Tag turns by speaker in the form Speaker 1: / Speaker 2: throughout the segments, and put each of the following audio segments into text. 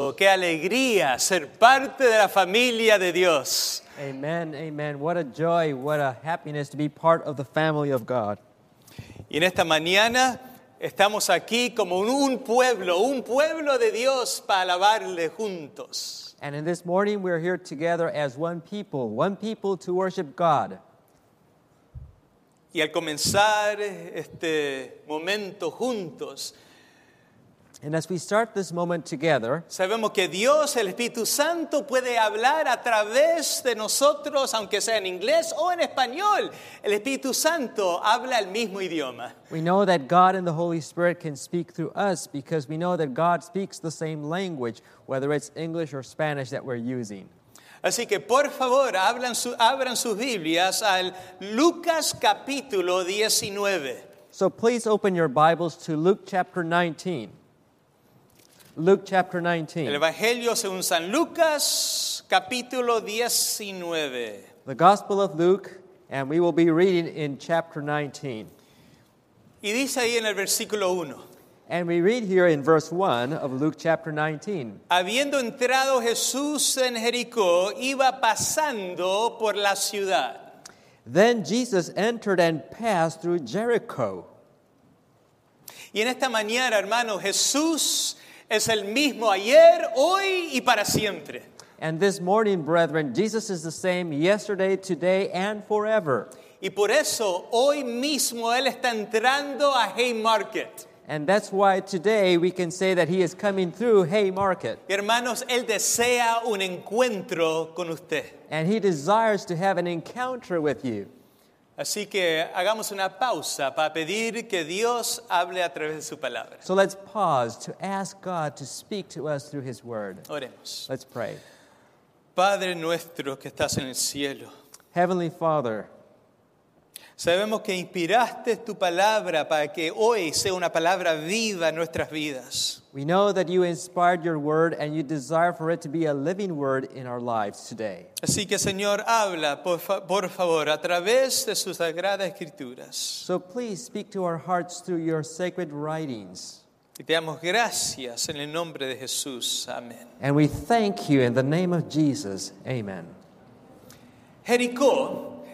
Speaker 1: gozo, qué alegría ser parte de la familia de Dios.
Speaker 2: Amen, amen. What a joy, what a happiness to be part of the family of God.
Speaker 1: Y en esta mañana estamos aquí como un, un pueblo, un pueblo de Dios para alabarle juntos.
Speaker 2: And in this morning, we're here together as one people, one people to worship God.
Speaker 1: Y al comenzar este momento juntos,
Speaker 2: And as we start this moment together,
Speaker 1: sabemos que Dios, el Espíritu Santo, puede hablar a través de nosotros, aunque sea en inglés o en español. El Espíritu Santo habla el mismo idioma.
Speaker 2: we know that God and the Holy Spirit can speak through us because we know that God speaks the same language, whether it's English or Spanish that we're using.
Speaker 1: Así que por favor, abran, su- abran sus Biblias al Lucas capítulo 19.
Speaker 2: So please open your Bibles to Luke chapter 19. Luke chapter
Speaker 1: El
Speaker 2: 19.
Speaker 1: Evangelio según San Lucas capítulo 19.
Speaker 2: The Gospel of Luke, and we will be reading in chapter 19.
Speaker 1: Y dice ahí en el versículo 1,
Speaker 2: And we read here in verse 1 of Luke chapter 19.
Speaker 1: habiendo entrado Jesús en Jericó, iba pasando por la ciudad.
Speaker 2: Then Jesus entered and passed through Jericho.
Speaker 1: Y en esta mañana, hermano, Jesús es el mismo ayer, hoy y para siempre.
Speaker 2: And this morning, brethren, Jesus is the same yesterday, today, and forever.
Speaker 1: Y por eso hoy mismo Él está entrando a Haymarket.
Speaker 2: And that's why today we can say that he is coming through Haymarket.
Speaker 1: Y, Hermanos, Él desea un encuentro con usted.
Speaker 2: And he desires to have an encounter with you.
Speaker 1: Así que hagamos una pausa para pedir que Dios hable a través de su palabra.
Speaker 2: So let's pause to ask God to speak to us through his word.
Speaker 1: Oremos.
Speaker 2: Let's pray.
Speaker 1: Padre nuestro que estás en el cielo,
Speaker 2: Heavenly Father,
Speaker 1: sabemos que inspiraste tu palabra para que hoy sea una palabra viva en nuestras vidas.
Speaker 2: we know that you inspired your word and you desire for it to be a living word in our lives today.
Speaker 1: Así que Señor, habla por, fa- por favor a través de sus sagradas escrituras.
Speaker 2: So please speak to our hearts through your sacred writings.
Speaker 1: Y te damos gracias en el nombre de Jesús. Amén.
Speaker 2: And we thank you in the name of Jesus. Amen.
Speaker 1: Jericó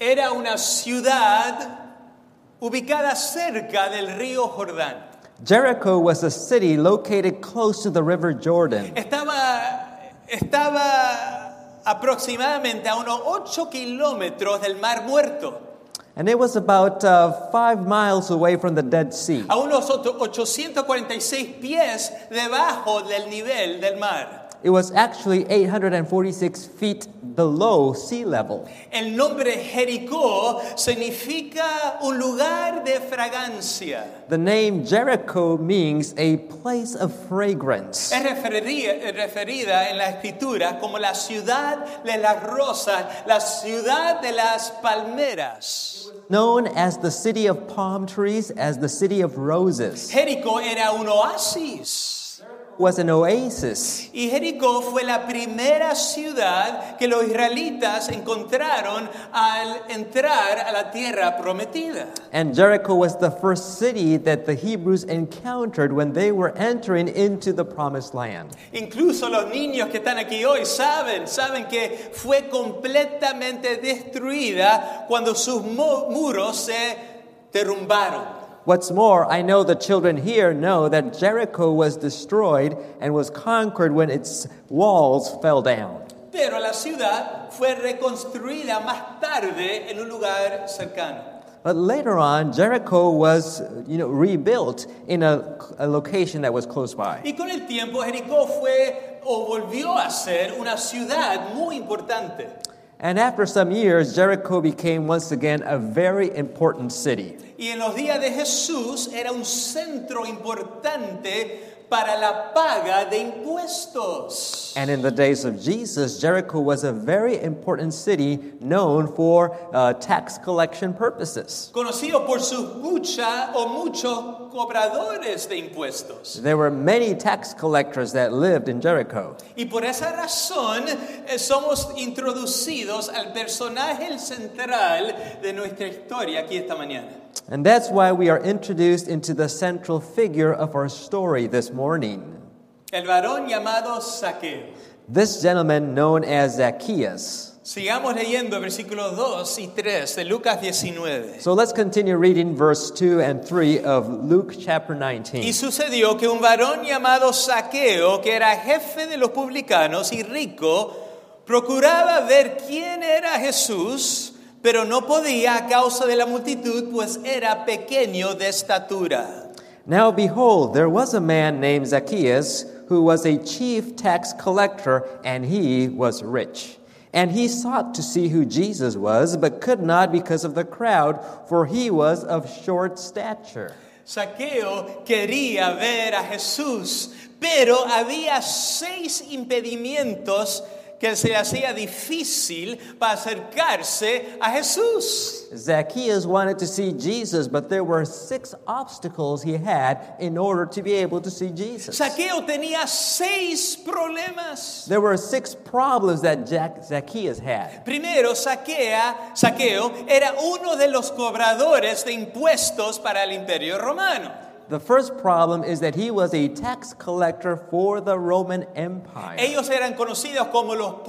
Speaker 1: era una ciudad ubicada cerca del río Jordán.
Speaker 2: Jericho was a city located close to the river Jordan.
Speaker 1: Estaba, estaba aproximadamente a unos 8 kilómetros del Mar Muerto,
Speaker 2: And it was about uh, five miles away from the Dead Sea,
Speaker 1: a unos ocho- 846 pies debajo del nivel del mar.
Speaker 2: it was actually 846 feet below sea level.
Speaker 1: El nombre Jericó significa un lugar de fragancia.
Speaker 2: The name Jericho means a place of fragrance.
Speaker 1: Es refería- eh, referida en la escritura como la ciudad de las rosas, la ciudad de las palmeras.
Speaker 2: Known as the city of palm trees, as the city of roses,
Speaker 1: Jericó era un oasis.
Speaker 2: was an oasis.
Speaker 1: Y Jericó fue la primera ciudad que los israelitas encontraron al entrar a la tierra prometida.
Speaker 2: And Jericho was the first city that the Hebrews encountered when they were entering into the promised land.
Speaker 1: Incluso los niños que están aquí hoy saben, saben que fue completamente destruida cuando sus mu- muros se derrumbaron.
Speaker 2: What's more, I know the children here know that Jericho was destroyed and was conquered when its walls fell down.
Speaker 1: Pero la ciudad fue reconstruida más tarde en un lugar cercano.
Speaker 2: But later on, Jericho was, you know, rebuilt in a, a location that was close by.
Speaker 1: Y con el tiempo Jericó fue o volvió a ser una ciudad muy importante.
Speaker 2: And after some years, Jericho became once again a very important city.
Speaker 1: Y en los días de Jesús era un centro importante para la paga de impuestos.
Speaker 2: And in the days of Jesus, Jericho was a very important city known for uh, tax collection purposes.
Speaker 1: Conocido por sus muchas o muchos cobradores de impuestos.
Speaker 2: There were many tax collectors that lived in Jericho.
Speaker 1: Y por esa razón eh, somos introducidos al personaje central de nuestra historia aquí esta mañana.
Speaker 2: And that's why we are introduced into the central figure of our story this morning.
Speaker 1: El varón llamado Saqueo.
Speaker 2: This gentleman, known as Zacchaeus.
Speaker 1: Sigamos leyendo versículos 2 y 3 de Lucas 19.
Speaker 2: So let's continue reading verse 2 and 3 of Luke chapter
Speaker 1: Y
Speaker 2: 19.
Speaker 1: sucedió que un varón llamado Saqueo, que era jefe de los publicanos y rico, procuraba ver quién era Jesús, pero no podía a causa de la multitud, pues era pequeño de estatura.
Speaker 2: Now behold, there was a man named Zacchaeus who was a chief tax collector, and he was rich. And he sought to see who Jesus was, but could not because of the crowd, for he was of short stature.
Speaker 1: Saqueo quería ver a Jesús, pero había seis impedimentos que se le hacía difícil para acercarse a Jesús.
Speaker 2: Zacchaeus wanted to see Jesus, but there were six obstacles he had in order to be able to see Jesus.
Speaker 1: Saqueo tenía seis problemas.
Speaker 2: There were six problems that Jack Zacchaeus had.
Speaker 1: Primero, saquea, Saqueo era uno de los cobradores de impuestos para el imperio romano.
Speaker 2: The first problem is that he was a tax collector for the Roman Empire.
Speaker 1: Ellos eran conocidos como los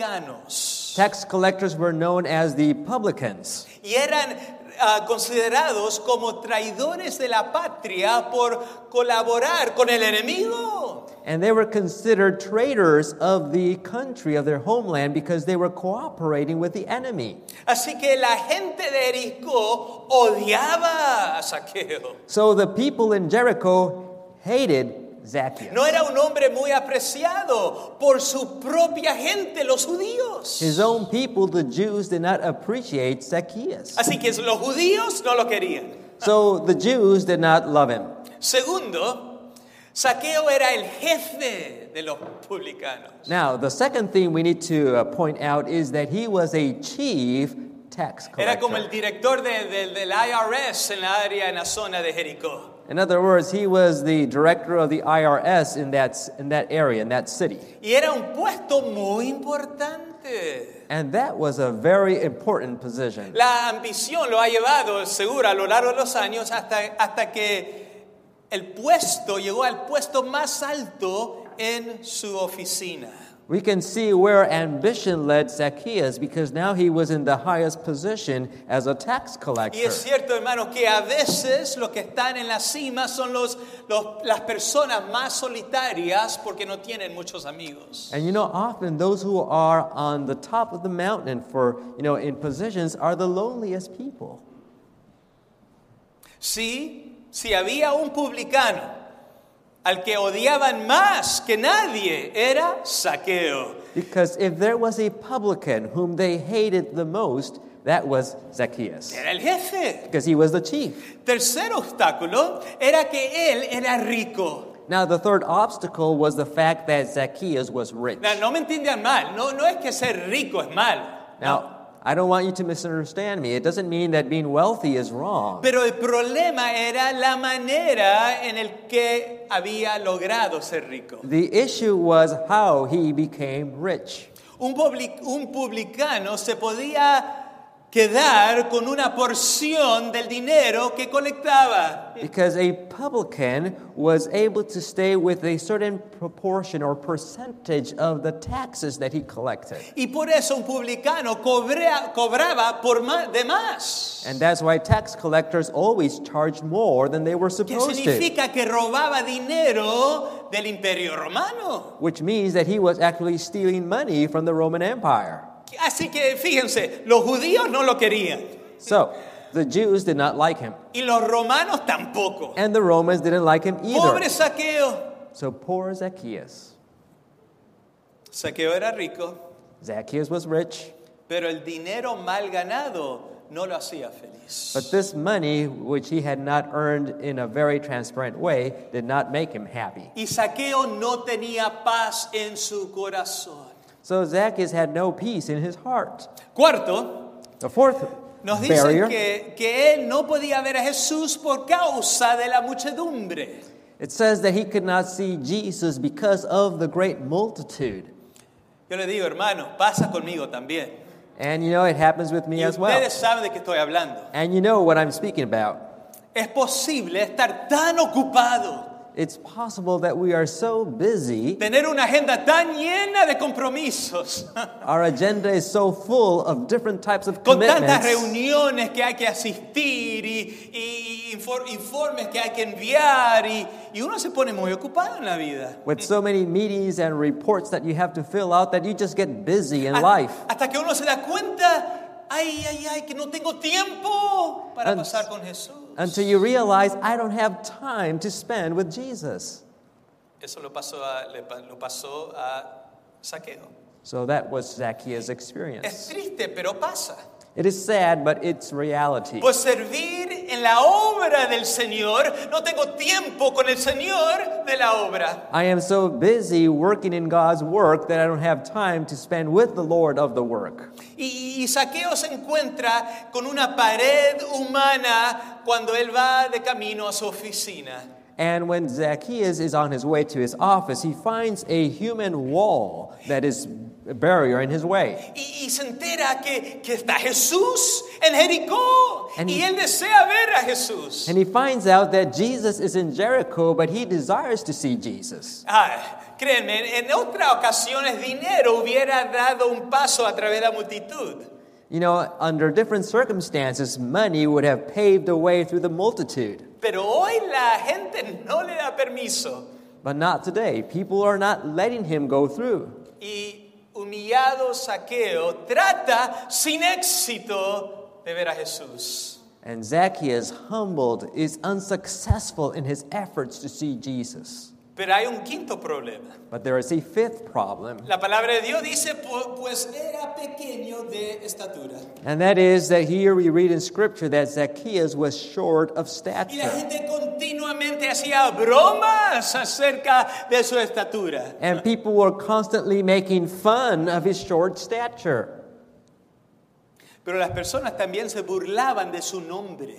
Speaker 1: publicanos
Speaker 2: Tax collectors were known as the publicans,
Speaker 1: y eran ah, considerados como traidores de la patria por colaborar con el enemigo.
Speaker 2: and they were considered traitors of the country, of their homeland, because they were cooperating with the enemy.
Speaker 1: Así que la gente de Jericó odiaba a Saqueo.
Speaker 2: So the people in Jericho hated Zacchaeus.
Speaker 1: No era un hombre muy apreciado por su propia gente, los judíos.
Speaker 2: His own people, the Jews, did not appreciate Zacchaeus.
Speaker 1: Así que los judíos no lo querían.
Speaker 2: So the Jews did not love him.
Speaker 1: Segundo, Saqueo era el jefe de los publicanos.
Speaker 2: Now, the second thing we need to uh, point out is that he was a chief tax
Speaker 1: Era como el
Speaker 2: collector.
Speaker 1: director de- de- del IRS en la área, en la zona de Jericó.
Speaker 2: In other words, he was the director of the IRS in that, s- in that area, in that city.
Speaker 1: Y era un puesto muy importante.
Speaker 2: And that was a very important position.
Speaker 1: La ambición lo ha llevado, seguro, a lo largo de los años hasta, hasta que el puesto llegó al puesto más alto en su oficina.
Speaker 2: We can see where ambition led Zacchaeus because now he was in the highest position as a tax
Speaker 1: Y es
Speaker 2: collector.
Speaker 1: cierto, hermanos, que a veces los que están en la cima son los, los- las personas más solitarias porque no tienen muchos amigos.
Speaker 2: And you know, often those who are on the top of the mountain for, you know, in positions are the loneliest people.
Speaker 1: Sí, si había un publicano al que odiaban más que nadie, era Saqueo.
Speaker 2: Because if there was a publican whom they hated the most, that was Zacchaeus,
Speaker 1: Era el jefe.
Speaker 2: because he was the chief.
Speaker 1: Tercer obstáculo era que él era rico.
Speaker 2: Now, the third obstacle was the fact that Zacchaeus was rich.
Speaker 1: No, no me entiendan mal, no, no es que ser rico es malo.
Speaker 2: Now, I don't want you to misunderstand me. It doesn't mean that being wealthy is wrong,
Speaker 1: Pero el problema era la manera en el que había logrado ser rico.
Speaker 2: the issue was how he became rich.
Speaker 1: Un, public- un publicano se podía quedar con una porción del dinero que colectaba.
Speaker 2: Because a publican was able to stay with a certain proportion or percentage of the taxes that he collected.
Speaker 1: Y por eso un publicano cobrea- cobraba por ma- de más.
Speaker 2: And that's why tax collectors always charged more than they were
Speaker 1: Que
Speaker 2: supposed to,
Speaker 1: significa que robaba dinero del imperio romano.
Speaker 2: which means that he was actually stealing money from the Roman Empire.
Speaker 1: Así que fíjense, los judíos no lo querían
Speaker 2: So, the Jews did not like him,
Speaker 1: y los romanos tampoco.
Speaker 2: and the Romans didn't like him
Speaker 1: Pobre
Speaker 2: either.
Speaker 1: saqueo.
Speaker 2: So, poor Zacchaeus.
Speaker 1: Saqueo era rico,
Speaker 2: Zacchaeus was rich,
Speaker 1: pero el dinero mal ganado no lo hacía feliz.
Speaker 2: but this money, which he had not earned in a very transparent way, did not make him happy.
Speaker 1: Y Saqueo no tenía paz en su corazón.
Speaker 2: So, Zacchaeus had no peace in his heart.
Speaker 1: Cuarto,
Speaker 2: The fourth
Speaker 1: nos dicen
Speaker 2: barrier
Speaker 1: que, que él no podía ver a Jesús por causa de la muchedumbre.
Speaker 2: It says that he could not see Jesus because of the great multitude.
Speaker 1: Yo le digo, hermano, pasa conmigo también.
Speaker 2: And you know, it happens with me
Speaker 1: Y
Speaker 2: as well.
Speaker 1: ustedes saben de qué estoy hablando.
Speaker 2: And you know what I'm speaking about.
Speaker 1: Es posible estar tan ocupado
Speaker 2: it's possible that we are so busy,
Speaker 1: tener una agenda tan llena de compromisos,
Speaker 2: our agenda is so full of different types of
Speaker 1: con tantas
Speaker 2: commitments,
Speaker 1: reuniones que hay que asistir y, y- y infor- informes que hay que enviar y, y uno se pone muy ocupado en la vida.
Speaker 2: with so many meetings and reports that you have to fill out that you just get busy in
Speaker 1: Ha-
Speaker 2: life.
Speaker 1: Hasta que uno se da cuenta, ay, ay, ay, que no tengo tiempo para
Speaker 2: Un-
Speaker 1: pasar con Jesús.
Speaker 2: Until you realize I don't have time to spend with Jesus.
Speaker 1: Eso lo pasó a, le pa- lo pasó a Saqueo.
Speaker 2: So that was
Speaker 1: Es
Speaker 2: Zacchaeus' experience.
Speaker 1: triste, pero pasa.
Speaker 2: It is sad, but it's reality.
Speaker 1: Por Pues servir en la obra del Señor, no tengo tiempo con el Señor de la obra.
Speaker 2: I am so busy working in God's work that I don't have time to spend with the Lord of the work.
Speaker 1: Y, y Saqueo se encuentra con una pared humana cuando él va de camino a su oficina.
Speaker 2: And when Zacchaeus is on his way to his office, he finds a human wall that is a barrier in his way.
Speaker 1: Y, y se entera que, que está Jesús en Jericó.
Speaker 2: And
Speaker 1: y
Speaker 2: he-
Speaker 1: él desea ver a Jesús.
Speaker 2: And he finds out that Jesus is in Jericho, but he desires to see Jesus.
Speaker 1: Ah, créanme, en otras ocasiones dinero hubiera dado un paso a través de la multitud.
Speaker 2: You know, under different circumstances, money would have paved a way through the multitude.
Speaker 1: Pero hoy la gente no le da permiso.
Speaker 2: But not today. People are not letting him go through.
Speaker 1: Y humillado Saqueo trata sin éxito de ver a Jesús.
Speaker 2: And Zacchaeus, humbled, is unsuccessful in his efforts to see Jesus.
Speaker 1: Pero hay un quinto problema.
Speaker 2: But there is a fifth problem,
Speaker 1: La palabra de Dios dice, "Pu- pues era pequeño de estatura.
Speaker 2: and that is that here we read in Scripture that Zacchaeus was short
Speaker 1: Y
Speaker 2: of
Speaker 1: la
Speaker 2: stature.
Speaker 1: gente continuamente hacía bromas acerca de su estatura.
Speaker 2: And people were constantly making fun of his short stature.
Speaker 1: Pero las personas también se burlaban de su nombre.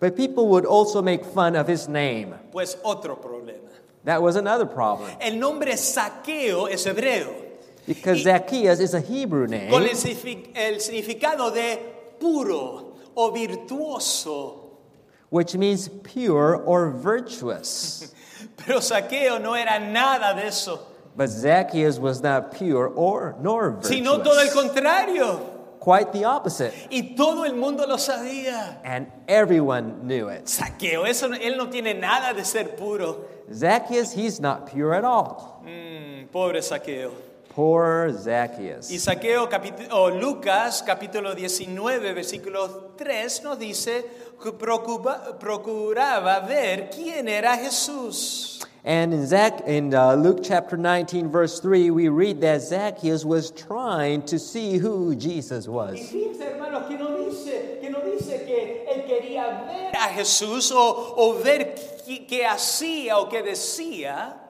Speaker 2: But people would also make fun of his name.
Speaker 1: Pues otro problema.
Speaker 2: That was another problem.
Speaker 1: El nombre Saqueo es hebreo.
Speaker 2: Because Zacchaeus is a Hebrew
Speaker 1: con el,
Speaker 2: name,
Speaker 1: signifi- el significado de puro o virtuoso.
Speaker 2: which means pure or virtuous.
Speaker 1: Pero Saqueo no era nada de eso,
Speaker 2: But Zacchaeus was not pure or nor
Speaker 1: sino todo el
Speaker 2: virtuous.
Speaker 1: contrario.
Speaker 2: Quite the opposite.
Speaker 1: Y todo el mundo lo sabía.
Speaker 2: And everyone knew it.
Speaker 1: Saqueo, eso, no- él no tiene nada de ser puro.
Speaker 2: Zacchaeus, he's not pure at all.
Speaker 1: Mm, pobre Saqueo.
Speaker 2: Poor
Speaker 1: Y
Speaker 2: Zacchaeus.
Speaker 1: Saqueo, capi- o Lucas, capítulo 19, versículo 3, nos dice que preocupa- procuraba ver quién era Jesús.
Speaker 2: And in, Zac- in uh, Luke chapter 19, verse 3, we read that Zacchaeus was trying to see who Jesus
Speaker 1: Y
Speaker 2: was.
Speaker 1: fíjense, hermanos, que no dice que, no dice que él quería ver a Jesús o, o ver qué, qué hacía o qué decía,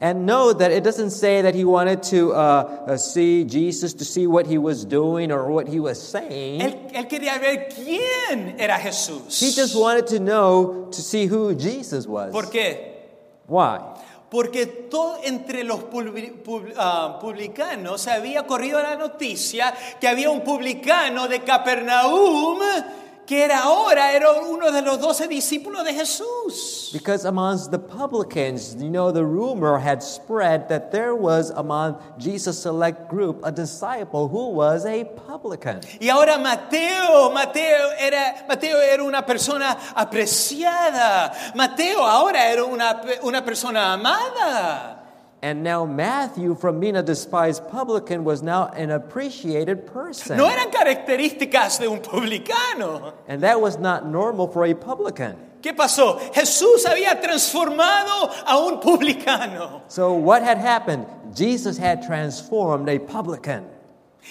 Speaker 2: And note that it doesn't say that he wanted to uh, uh, see Jesus to see what he was doing or what he was saying.
Speaker 1: él, él quería ver quién era Jesús.
Speaker 2: He just wanted to know to see who Jesus
Speaker 1: ¿Por
Speaker 2: was.
Speaker 1: qué?
Speaker 2: Why?
Speaker 1: Porque todo, entre los publi- pub- ah, publicanos se había corrido la noticia que había un publicano de Capernaum que era ahora era uno de los doce discípulos de Jesús.
Speaker 2: Because amongst the publicans, you know, the rumor had spread that there was among Jesus' select group a disciple who was a publican.
Speaker 1: Y ahora Mateo, Mateo era, Mateo era una persona apreciada. Mateo ahora era una, pe- una persona amada.
Speaker 2: And now Matthew, from being a despised publican, was now an appreciated person.
Speaker 1: No eran características de un publicano.
Speaker 2: And that was not normal for a publican.
Speaker 1: ¿Qué pasó? Jesús había transformado a un publicano.
Speaker 2: So, what had happened? Jesus had transformed a publican.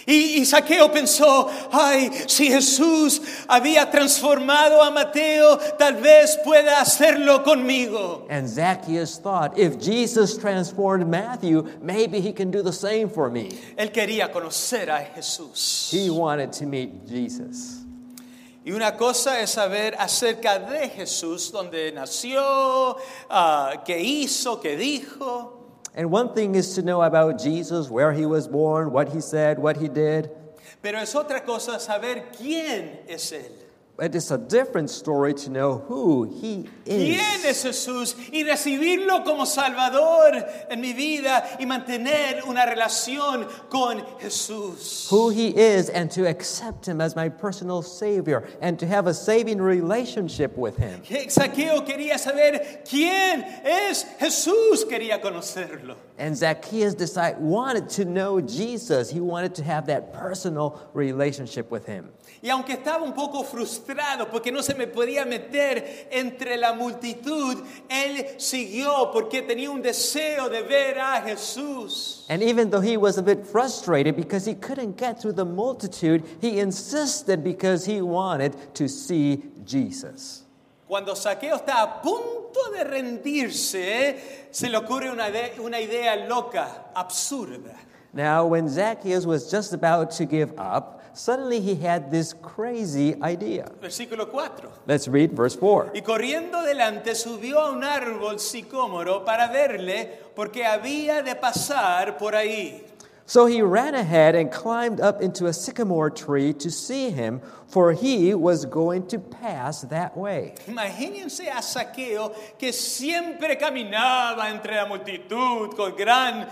Speaker 1: Y, y Saqueo pensó, ay, si Jesús había transformado a Mateo, tal vez pueda hacerlo conmigo.
Speaker 2: And Zacchaeus thought, if Jesus transformed Matthew, maybe he can do the same for me.
Speaker 1: Él quería conocer a Jesús.
Speaker 2: He wanted to meet Jesus.
Speaker 1: Y una cosa es saber acerca de Jesús, dónde nació, ah, qué hizo, qué dijo.
Speaker 2: And one thing is to know about Jesus, where he was born, what he said, what he did.
Speaker 1: Pero es otra cosa saber quién es Él.
Speaker 2: But it's a different story to know who he is.
Speaker 1: ¿Quién es Jesús? Y recibirlo como Salvador en mi vida y mantener una relación con Jesús.
Speaker 2: Who he is, and to accept him as my personal savior, and to have a saving relationship with him.
Speaker 1: Saqueo quería saber quién es Jesús, quería conocerlo.
Speaker 2: And Zacchaeus decided, wanted to know Jesus. He wanted to have that personal relationship with him.
Speaker 1: Y aunque estaba un poco frustrado porque no se me podía meter entre la multitud, él siguió porque tenía un deseo de ver a Jesús.
Speaker 2: And even though he was a bit frustrated because he couldn't get through the multitude, he insisted because he wanted to see Jesus.
Speaker 1: Cuando Saqueo está a punto de rendirse, se le ocurre una, de- una idea loca, absurda.
Speaker 2: Now, when Zacchaeus was just about to give up, suddenly he had this crazy idea.
Speaker 1: Versículo 4.
Speaker 2: Let's read verse 4.
Speaker 1: Y corriendo delante subió a un árbol sicómoro para verle porque había de pasar por ahí.
Speaker 2: So he ran ahead and climbed up into a sycamore tree to see him, for he was going to pass that way.
Speaker 1: Imagínense a Saqueo que siempre caminaba entre la multitud con gran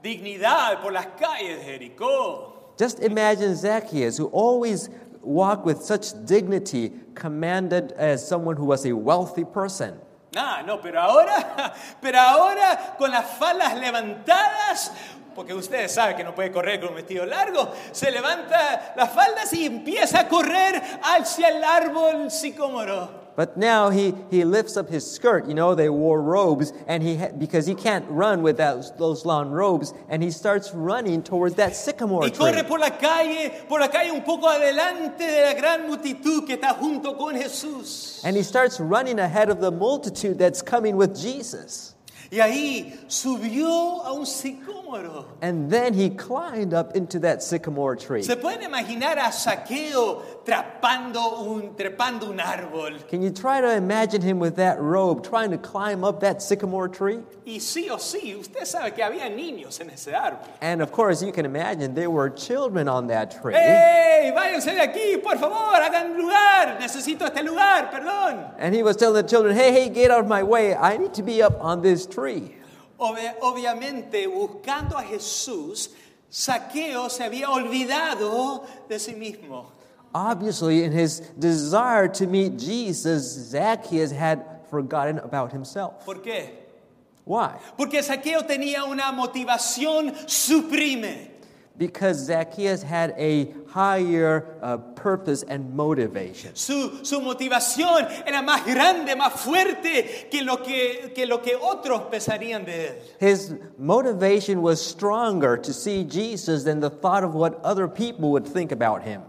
Speaker 1: dignidad por las calles de Jericó.
Speaker 2: Just imagine Zacchaeus, who always walked with such dignity, commanded as someone who was a wealthy person.
Speaker 1: Ah, no, pero ahora, pero ahora con las falas levantadas, porque ustedes saben que no puede correr con un vestido largo, se levanta las faldas y empieza a correr hacia el árbol sicómoro.
Speaker 2: But now he, he lifts up his skirt. You know, they wore robes, and he ha- because he can't run with that, those long robes, and he starts running towards that sycamore
Speaker 1: Y corre
Speaker 2: tree.
Speaker 1: por la calle, por la calle un poco adelante de la gran multitud que está junto con Jesús.
Speaker 2: And he starts running ahead of the multitude that's coming with Jesus.
Speaker 1: Y ahí subió a un sicómoro.
Speaker 2: And then he climbed up into that sycamore tree.
Speaker 1: ¿Se pueden imaginar a Saqueo trepando un, trepando un árbol?
Speaker 2: Can you try to imagine him with that robe trying to climb up that sycamore tree?
Speaker 1: Y sí o sí, usted sabe que había niños en ese árbol.
Speaker 2: And of course, you can imagine there were children on that tree.
Speaker 1: ¡Ey! Váyanse de aquí, por favor, hagan lugar. Necesito este lugar, perdón.
Speaker 2: And he was telling the children, hey, hey, get out of my way. I need to be up on this tree.
Speaker 1: Obvia- obviamente, buscando a Jesús, Saqueo se había olvidado de sí mismo.
Speaker 2: Obviously, in his desire to meet Jesus, Zacchaeus had forgotten about himself.
Speaker 1: ¿Por qué?
Speaker 2: Why?
Speaker 1: Porque Saqueo tenía una motivación suprime.
Speaker 2: Because Zacchaeus had a higher uh, purpose and motivation.
Speaker 1: Su, su motivación era más grande, más fuerte que lo que, que lo que otros pensarían de él.
Speaker 2: His motivation was stronger to see Jesus than the thought of what other people would think about him.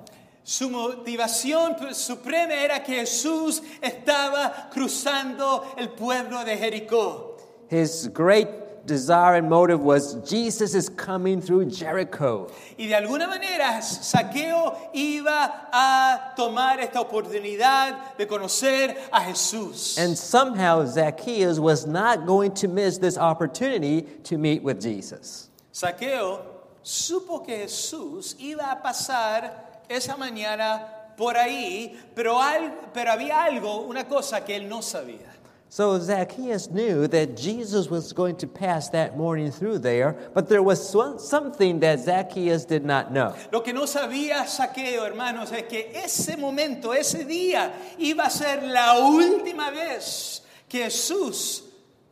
Speaker 1: Su motivación suprema era que Jesús estaba cruzando el pueblo de Jericó.
Speaker 2: His great desire and motive was Jesus is coming through Jericho.
Speaker 1: Y de alguna manera Saqueo iba a tomar esta oportunidad de conocer a Jesús.
Speaker 2: And somehow Zacchaeus was not going to miss this opportunity to meet with Jesus.
Speaker 1: Saqueo supo que Jesús iba a pasar esa mañana por ahí, pero, al- pero había algo, una cosa que él no sabía.
Speaker 2: So Zacchaeus knew that Jesus was going to pass that morning through there, but there was so- something that Zacchaeus did not know.
Speaker 1: Lo que no sabía Saqueo, hermanos, es que ese momento, ese día, iba a ser la última vez que Jesús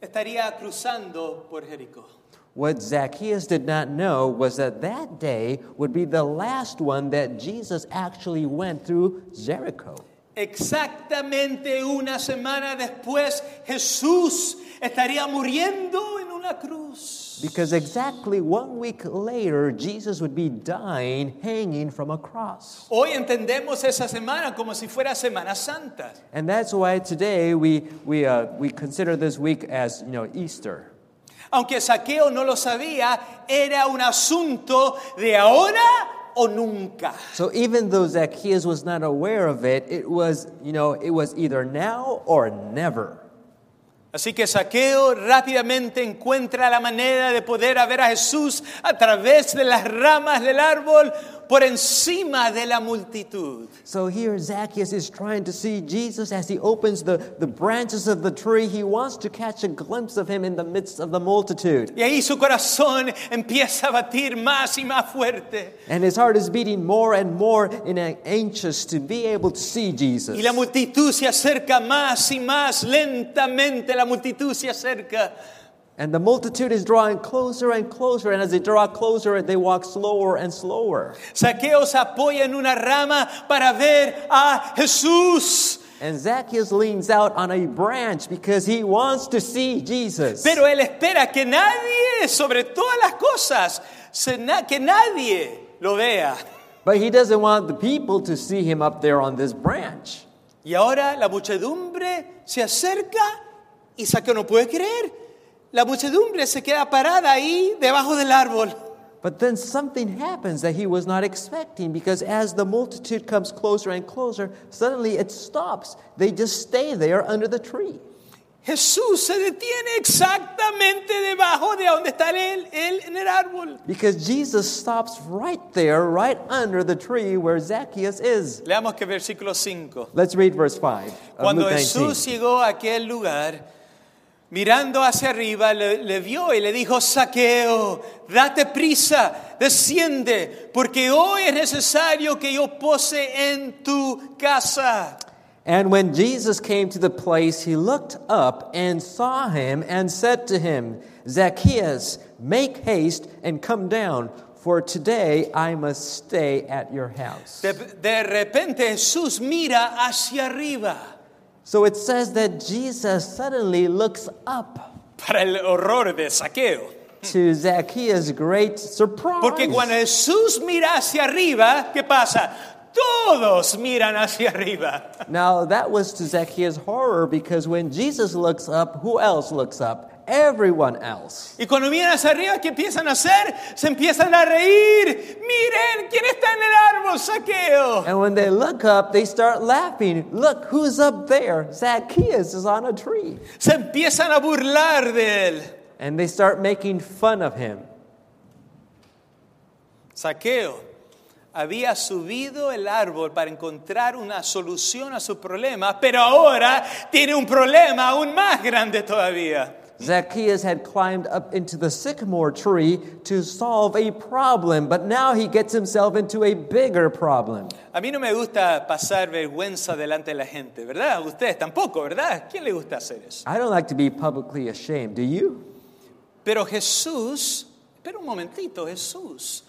Speaker 1: estaría cruzando por Jericó.
Speaker 2: What Zacchaeus did not know was that that day would be the last one that Jesus actually went through Jericho.
Speaker 1: Exactamente una semana después, Jesús estaría muriendo en una cruz.
Speaker 2: Because exactly one week later, Jesus would be dying, hanging from a cross.
Speaker 1: Hoy entendemos esa semana como si fuera Semana Santa.
Speaker 2: And that's why today we, we, uh, we consider this week as, you know, Easter.
Speaker 1: Aunque Saqueo no lo sabía, era un asunto de ahora o nunca.
Speaker 2: So even though Zacchaeus was not aware of it, it was, you know, it was either now or never.
Speaker 1: Así que Saqueo rápidamente encuentra la manera de poder a ver a Jesús a través de las ramas del árbol por encima de la multitud.
Speaker 2: So here Zacchaeus is trying to see Jesus as he opens the, the branches of the tree. He wants to catch a glimpse of him in the midst of the multitude.
Speaker 1: Y ahí su corazón empieza a batir más y más fuerte.
Speaker 2: And his heart is beating more and more in an anxious to be able to see Jesus.
Speaker 1: Y la multitud se acerca más y más lentamente, la multitud se acerca.
Speaker 2: And the multitude is drawing closer and closer, and as they draw closer, they walk slower and slower.
Speaker 1: Saqueo se apoya en una rama para ver a Jesús.
Speaker 2: And Zacchaeus leans out on a branch because he wants to see Jesus.
Speaker 1: Pero él espera que nadie, sobre todas las cosas, se na- que nadie lo vea.
Speaker 2: But he doesn't want the people to see him up there on this branch.
Speaker 1: Y ahora la muchedumbre se acerca y Saqueo no puede creer. La muchedumbre se queda parada ahí debajo del árbol.
Speaker 2: But then something happens that he was not expecting because as the multitude comes closer and closer, suddenly it stops. They just stay there under the tree.
Speaker 1: Jesús se detiene exactamente debajo de donde está él, él en el árbol.
Speaker 2: Because Jesus stops right there, right under the tree where Zacchaeus is.
Speaker 1: Leamos que versículo 5.
Speaker 2: Let's read verse 5 of
Speaker 1: Cuando
Speaker 2: Luke 19.
Speaker 1: Jesús llegó a aquel lugar, mirando hacia arriba, le, le vio y le dijo, Saqueo, date prisa, desciende, porque hoy es necesario que yo pose en tu casa.
Speaker 2: And when Jesus came to the place, he looked up and saw him and said to him, Zacchaeus, make haste and come down, for today I must stay at your house.
Speaker 1: De, de repente Jesús mira hacia arriba.
Speaker 2: So it says that Jesus suddenly looks up
Speaker 1: Para el horror de Saqueo.
Speaker 2: to Zacchaeus' great surprise.
Speaker 1: Porque cuando Jesús mira hacia arriba, ¿qué pasa? Todos miran hacia arriba.
Speaker 2: Now, that was to Zacchaeus' horror because when Jesus looks up, who else looks up? Everyone else.
Speaker 1: Y cuando miran hacia arriba, ¿qué empiezan a hacer? Se empiezan a reír. Miren, ¿quién está en el árbol? Saqueo.
Speaker 2: And when they look up, they start laughing. Look, who's up there? Zacchaeus is on a tree.
Speaker 1: Se empiezan a burlar de él.
Speaker 2: And they start making fun of him.
Speaker 1: Saqueo había subido el árbol para encontrar una solución a su problema, pero ahora tiene un problema aún más grande todavía.
Speaker 2: Zacchaeus had climbed up into the sycamore tree to solve a problem, but now he gets himself into a bigger problem.
Speaker 1: A mí no me gusta pasar vergüenza delante de la gente, ¿verdad? A ustedes tampoco, ¿verdad? ¿Quién le gusta hacer eso?
Speaker 2: I don't like to be publicly ashamed, do you?
Speaker 1: Pero Jesús, espera un momentito, Jesús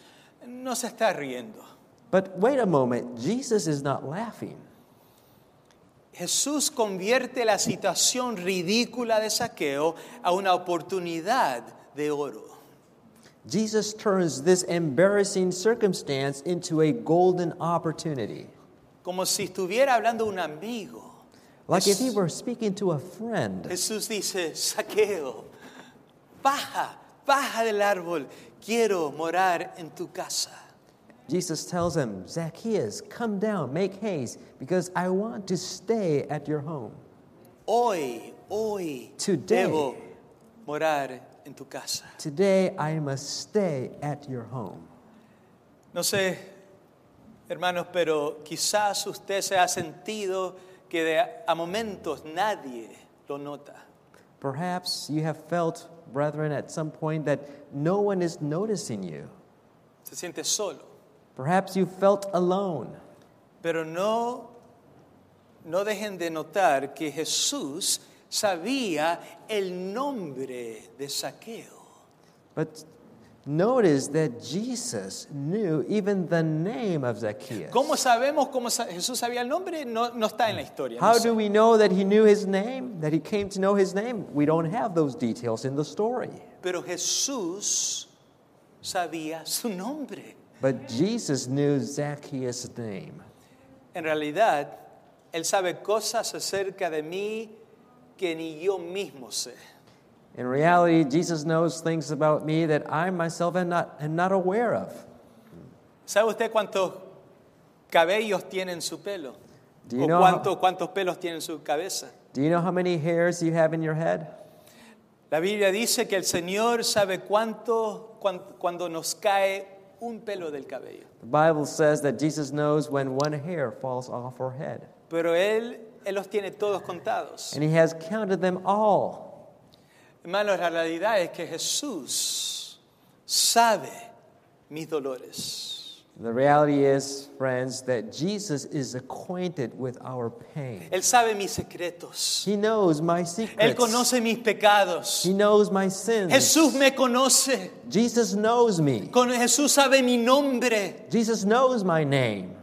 Speaker 1: no se está riendo.
Speaker 2: But wait a moment, Jesus is not laughing.
Speaker 1: Jesús convierte la situación ridícula de saqueo a una oportunidad de oro.
Speaker 2: Jesus turns this embarrassing circumstance into a golden opportunity.
Speaker 1: Como si estuviera hablando un amigo.
Speaker 2: Like if he were speaking to a friend.
Speaker 1: Jesús dice, saqueo, baja, baja del árbol, quiero morar en tu casa.
Speaker 2: Jesus tells him, Zacchaeus, come down, make haste, because I want to stay at your home.
Speaker 1: Hoy, hoy
Speaker 2: Today.
Speaker 1: debo morar en tu casa.
Speaker 2: Today I must stay at your home.
Speaker 1: No sé, hermanos, pero quizás usted se ha sentido que de- a momentos nadie lo nota.
Speaker 2: Perhaps you have felt, brethren, at some point that no one is noticing you.
Speaker 1: Se siente solo,
Speaker 2: Perhaps you felt alone.
Speaker 1: pero no no dejen de notar que Jesús sabía el nombre de Saqueo.
Speaker 2: But notice that Jesus knew even the name of Zacchaeus.
Speaker 1: ¿Cómo sabemos cómo sa- Jesús sabía el nombre? No, no está en la historia. no
Speaker 2: How
Speaker 1: sé.
Speaker 2: do we know that he knew his name, that he came to know his name? We don't have those details in the story.
Speaker 1: Pero Jesús sabía su nombre.
Speaker 2: But Jesus knew Zacchaeus' name.
Speaker 1: En realidad, Él sabe cosas acerca de mí que ni yo mismo sé.
Speaker 2: In reality, Jesus knows things about me that I myself am not, am not aware of.
Speaker 1: ¿Sabe usted cuántos cabellos tiene en su pelo?
Speaker 2: Do you
Speaker 1: ¿O
Speaker 2: know-
Speaker 1: cuánto- cuántos pelos tiene en su cabeza?
Speaker 2: Do you know how many hairs you have in your head?
Speaker 1: La Biblia dice que el Señor sabe cuánto cuan- cuando nos cae un pelo del cabello.
Speaker 2: The Bible says that Jesus knows when one hair falls off her head,
Speaker 1: Pero él, él los tiene todos contados.
Speaker 2: and he has counted them all.
Speaker 1: Hermanos, la realidad es que Jesús sabe mis dolores.
Speaker 2: The reality is, friends, that Jesus is acquainted with our pain.
Speaker 1: Él sabe mis secretos.
Speaker 2: He knows my
Speaker 1: Él
Speaker 2: secrets.
Speaker 1: conoce mis pecados.
Speaker 2: He knows my sins.
Speaker 1: Jesús me conoce.
Speaker 2: Jesus knows me.
Speaker 1: Con Jesús sabe mi nombre.
Speaker 2: Jesus knows my name.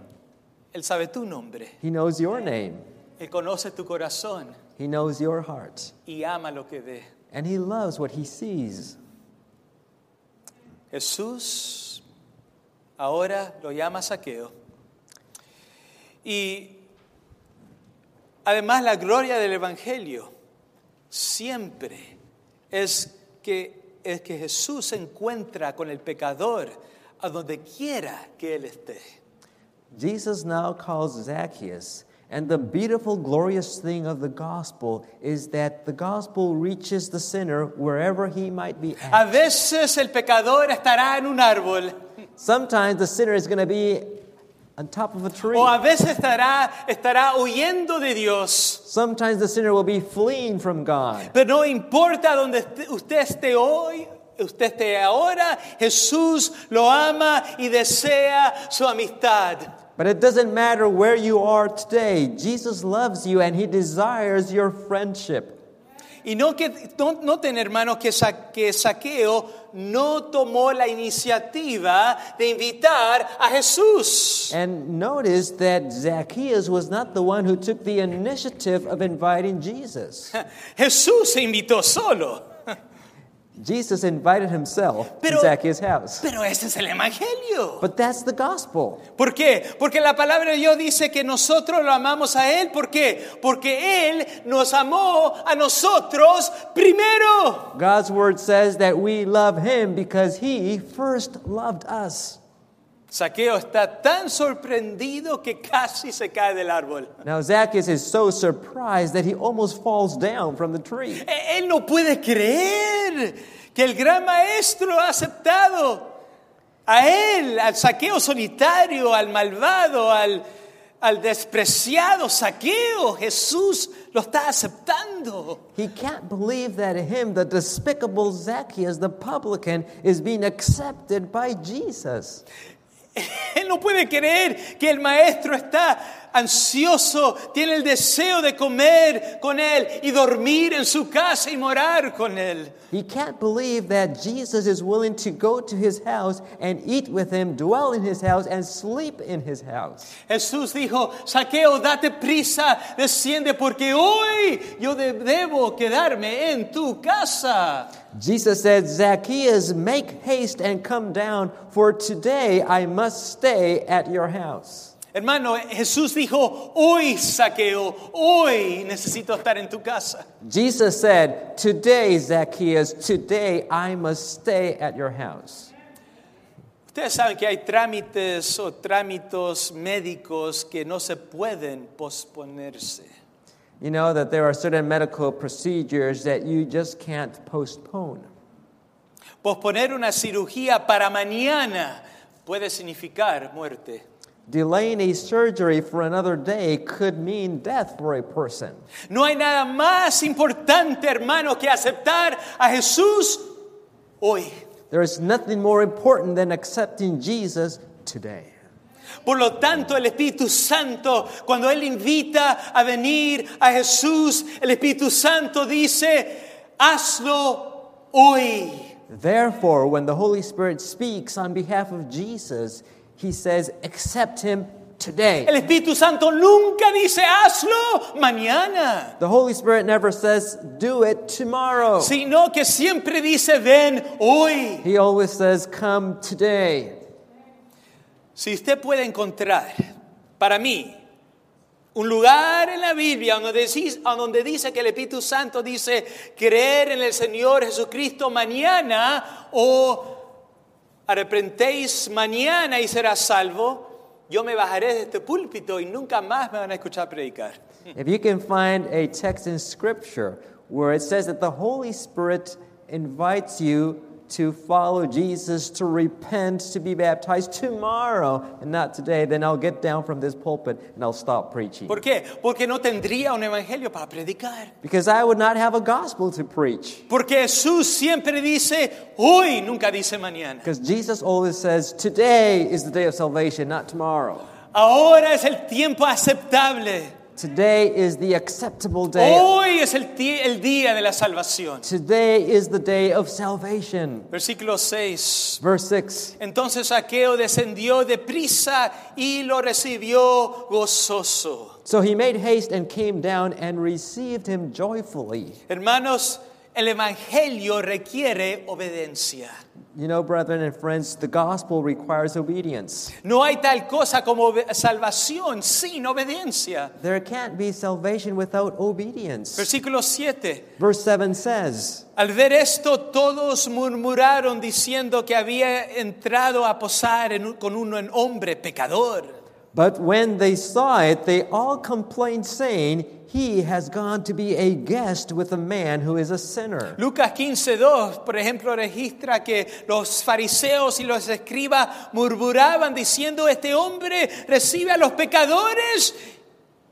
Speaker 1: Él sabe tu nombre.
Speaker 2: He knows your name.
Speaker 1: Él conoce tu corazón
Speaker 2: He knows your heart.
Speaker 1: y ama lo que ve.
Speaker 2: And he loves what he sees.
Speaker 1: Jesús ahora lo llama Saqueo. Y además la gloria del Evangelio siempre es que, es que Jesús se encuentra con el pecador a donde quiera que él esté.
Speaker 2: Jesus now calls Zacchaeus. And the beautiful, glorious thing of the gospel is that the gospel reaches the sinner wherever he might be at.
Speaker 1: A veces el pecador estará en un árbol
Speaker 2: Sometimes the sinner is going to be on top of a tree.
Speaker 1: o a veces estará, estará huyendo de Dios.
Speaker 2: Sometimes the sinner will be fleeing from God.
Speaker 1: Pero no importa donde esté- usted esté hoy, usted esté ahora, Jesús lo ama y desea su amistad.
Speaker 2: But it doesn't matter where you are today, Jesus loves you and he desires your friendship.
Speaker 1: Y no que no, noten, hermanos, que, Sa- que Saqueo no tomó la iniciativa de invitar a Jesús.
Speaker 2: And notice that Zacchaeus was not the one who took the initiative of inviting Jesus.
Speaker 1: Jesús se invitó solo.
Speaker 2: Jesus invited himself
Speaker 1: Pero-
Speaker 2: to Zacchaeus' house.
Speaker 1: Pero ese es el Evangelio.
Speaker 2: But that's the gospel.
Speaker 1: ¿Por qué? Porque la palabra de Dios dice que nosotros lo amamos a Él. ¿Por qué? Porque Él nos amó a nosotros primero.
Speaker 2: God's word says that we love him because he first loved us.
Speaker 1: Saqueo está tan sorprendido que casi se cae del árbol.
Speaker 2: Now, Zacchaeus is so surprised that he almost falls down from the tree.
Speaker 1: E- Él no puede creer que el gran maestro ha aceptado a él, al saqueo solitario, al malvado, al, al despreciado saqueo. Jesús lo está aceptando.
Speaker 2: He can't believe that him, the despicable Zacchaeus, the publican, is being accepted by Jesus.
Speaker 1: Él no puede creer que el maestro está ansioso, tiene el deseo de comer con él y dormir en su casa y morar con él.
Speaker 2: He can't believe that Jesus is willing to go to his house and eat with him, dwell in his house, and sleep in his house.
Speaker 1: Jesús dijo, Saqueo, date prisa, desciende, porque hoy yo de- debo quedarme en tu casa.
Speaker 2: Jesus said, Zacchaeus, make haste and come down, for today I must stay at your house.
Speaker 1: Hermano, Jesús dijo, hoy Saqueo, hoy necesito estar en tu casa.
Speaker 2: Jesus said, Today, Zacchaeus, today I must stay at your house.
Speaker 1: Ustedes saben que hay trámites o trámites médicos que no se pueden posponerse.
Speaker 2: You know that there are certain medical procedures that you just can't postpone.
Speaker 1: Posponer una cirugía para mañana puede significar muerte.
Speaker 2: Delaying a surgery for another day could mean death for a person.
Speaker 1: No hay nada más importante, hermano, que aceptar a Jesús hoy.
Speaker 2: There is nothing more important than accepting Jesus today.
Speaker 1: Por lo tanto, el Espíritu Santo, cuando Él invita a venir a Jesús, el Espíritu Santo dice, hazlo hoy.
Speaker 2: Therefore, when the Holy Spirit speaks on behalf of Jesus, he says, Accept him
Speaker 1: El
Speaker 2: today.
Speaker 1: Espíritu Santo nunca dice, hazlo mañana,
Speaker 2: The Holy Spirit never says, Do it tomorrow.
Speaker 1: sino que siempre dice, ven hoy.
Speaker 2: He always says, Come today.
Speaker 1: Si usted puede encontrar, para mí, un lugar en la Biblia donde dice, donde dice que el Espíritu Santo dice creer en el Señor Jesucristo mañana o arrepentéis mañana y serás salvo, yo me bajaré de este púlpito y nunca más me van a escuchar predicar.
Speaker 2: If you can find a text in Scripture where it says that the Holy Spirit invites you to follow Jesus, to repent, to be baptized tomorrow and not today, then I'll get down from this pulpit and I'll stop preaching.
Speaker 1: ¿Por qué? Porque no tendría un evangelio para predicar.
Speaker 2: Because I would not have a gospel to preach.
Speaker 1: Porque Jesús siempre dice hoy, nunca dice mañana.
Speaker 2: Because Jesus always says, today is the day of salvation, not tomorrow.
Speaker 1: Ahora es el tiempo aceptable.
Speaker 2: Today is the acceptable day.
Speaker 1: Hoy es el, ti- el día de la salvación.
Speaker 2: Today is the day of salvation.
Speaker 1: Versículo 6.
Speaker 2: Verse 6
Speaker 1: Entonces Saqueo descendió deprisa y lo recibió gozoso.
Speaker 2: So he made haste and came down and received him joyfully.
Speaker 1: Hermanos, el evangelio requiere obediencia.
Speaker 2: You know, brethren and friends, the gospel requires obedience.
Speaker 1: No hay tal cosa como obe- salvación sin obediencia.
Speaker 2: There can't be salvation without obedience.
Speaker 1: Versículo 7.
Speaker 2: Verse 7 says,
Speaker 1: Al ver esto, todos murmuraron diciendo que había entrado a posar en un- con un hombre pecador.
Speaker 2: But when they saw it, they all complained, saying, He has gone to be a guest with a man who is a sinner.
Speaker 1: Lucas 15:2, por ejemplo, registra que los fariseos y los escribas murmuraban diciendo, este hombre recibe a los pecadores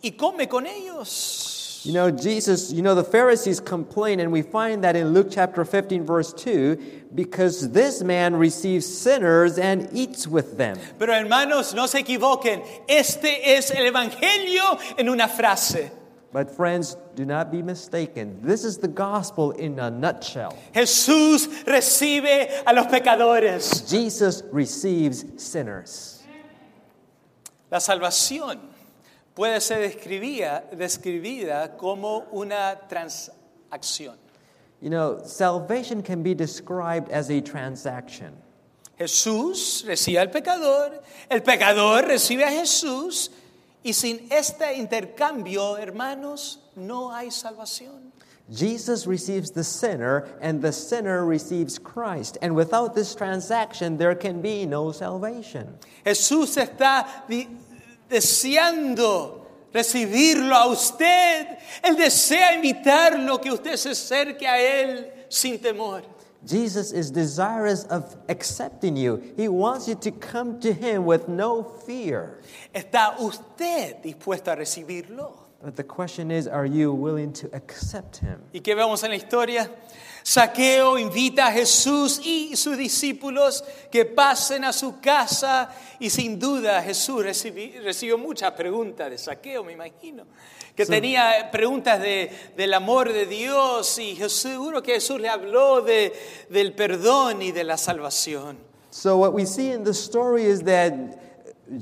Speaker 1: y come con ellos.
Speaker 2: You know, Jesus, you know, the Pharisees complain, and we find that in Luke chapter 15, verse 2, because this man receives sinners and eats with them.
Speaker 1: Pero hermanos, no se equivoquen, este es el Evangelio en una frase.
Speaker 2: But friends, do not be mistaken. This is the gospel in a nutshell.
Speaker 1: Jesús recibe a los pecadores.
Speaker 2: Jesus receives sinners.
Speaker 1: La salvación puede ser describida, describida como una transacción.
Speaker 2: You know, salvation can be described as a transaction.
Speaker 1: Jesús recibe al pecador, el pecador recibe a Jesús, y sin este intercambio, hermanos, no hay salvación.
Speaker 2: Jesus receives the sinner, and the sinner receives Christ. And without this transaction, there can be no salvation.
Speaker 1: Jesús está di- deseando recibirlo a usted. Él desea invitarlo, que usted se acerque a Él sin temor.
Speaker 2: Jesus is desirous of accepting you. He wants you to come to him with no fear.
Speaker 1: ¿Está usted dispuesto a recibirlo?
Speaker 2: But the question is, are you willing to accept him?
Speaker 1: ¿Y qué vemos en la historia? Saqueo invita a Jesús y sus discípulos que pasen a su casa y sin duda Jesús recibi- recibió muchas preguntas de Saqueo, me imagino, que tenía preguntas de- del amor de Dios y Jesús- seguro que Jesús le habló de, del perdón y de la salvación.
Speaker 2: So, what we see in the story is that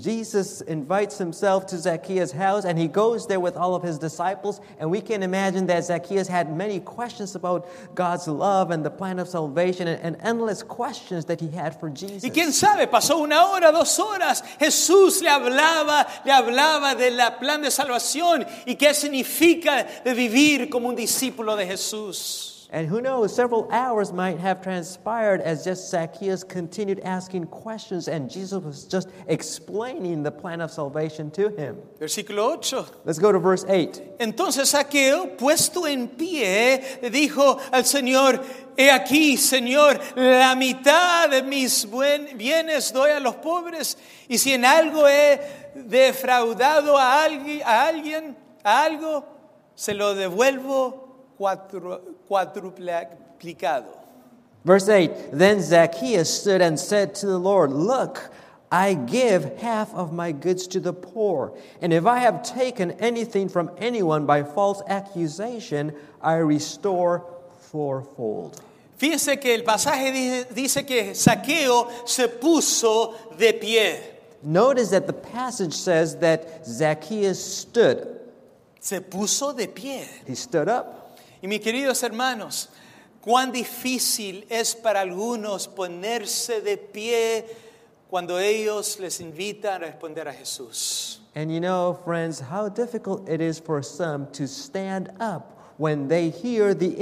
Speaker 2: Jesus invites himself to Zacchaeus' house and he goes there with all of his disciples. And we can imagine that Zacchaeus had many questions about God's love and the plan of salvation and, and endless questions that he had for
Speaker 1: Y quién
Speaker 2: Jesus.
Speaker 1: sabe, pasó una hora, dos horas, Jesús le hablaba, le hablaba del plan de salvación y qué significa de vivir como un discípulo de Jesús.
Speaker 2: And who knows, several hours might have transpired as just Zacchaeus continued asking questions and Jesus was just explaining the plan of salvation to him.
Speaker 1: Versículo 8.
Speaker 2: Let's go to verse 8.
Speaker 1: Entonces Saqueo, puesto en pie, le dijo al Señor, he aquí, Señor, la mitad de mis buen- bienes doy a los pobres y si en algo he defraudado a alguien, a, alguien, a algo, se lo devuelvo cuatro- cuatruplicado.
Speaker 2: Verse 8 Then Zacchaeus stood and said to the Lord, Look, I give half of my goods to the poor, and if I have taken anything from anyone by false accusation, I restore fourfold.
Speaker 1: Fíjense que el pasaje dice- dice que Saqueo se puso de pie.
Speaker 2: Notice that the passage says that Zacchaeus stood.
Speaker 1: Se puso de pie.
Speaker 2: He stood up.
Speaker 1: Y mis queridos hermanos, cuán difícil es para algunos ponerse de pie cuando ellos les invitan a responder a Jesús.
Speaker 2: And you know, friends, how difficult it is for some to stand up when they hear the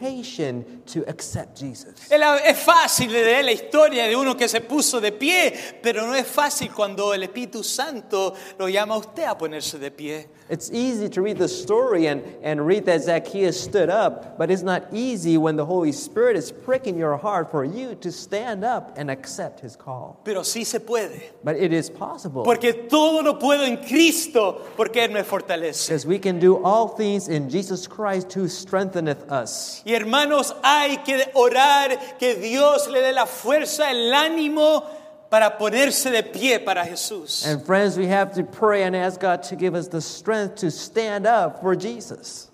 Speaker 2: invitation to accept Jesus.
Speaker 1: Es la- Es fácil leer la historia de uno que se puso de pie, pero no es fácil cuando el Espíritu Santo lo llama a usted a ponerse de pie.
Speaker 2: It's easy to read the story and, and read that Zacchaeus stood up, but it's not easy when the Holy Spirit is pricking your heart for you to stand up and accept his call.
Speaker 1: Pero sí se puede,
Speaker 2: But it is possible.
Speaker 1: porque todo lo puedo en Cristo, porque Él me fortalece.
Speaker 2: Because we can do all things in Jesus Christ who strengtheneth us.
Speaker 1: Y hermanos, hay que orar que Dios le dé la fuerza, el ánimo para ponerse de pie para Jesús.
Speaker 2: And friends, we have to pray and ask God to give us the strength to stand up for Jesus.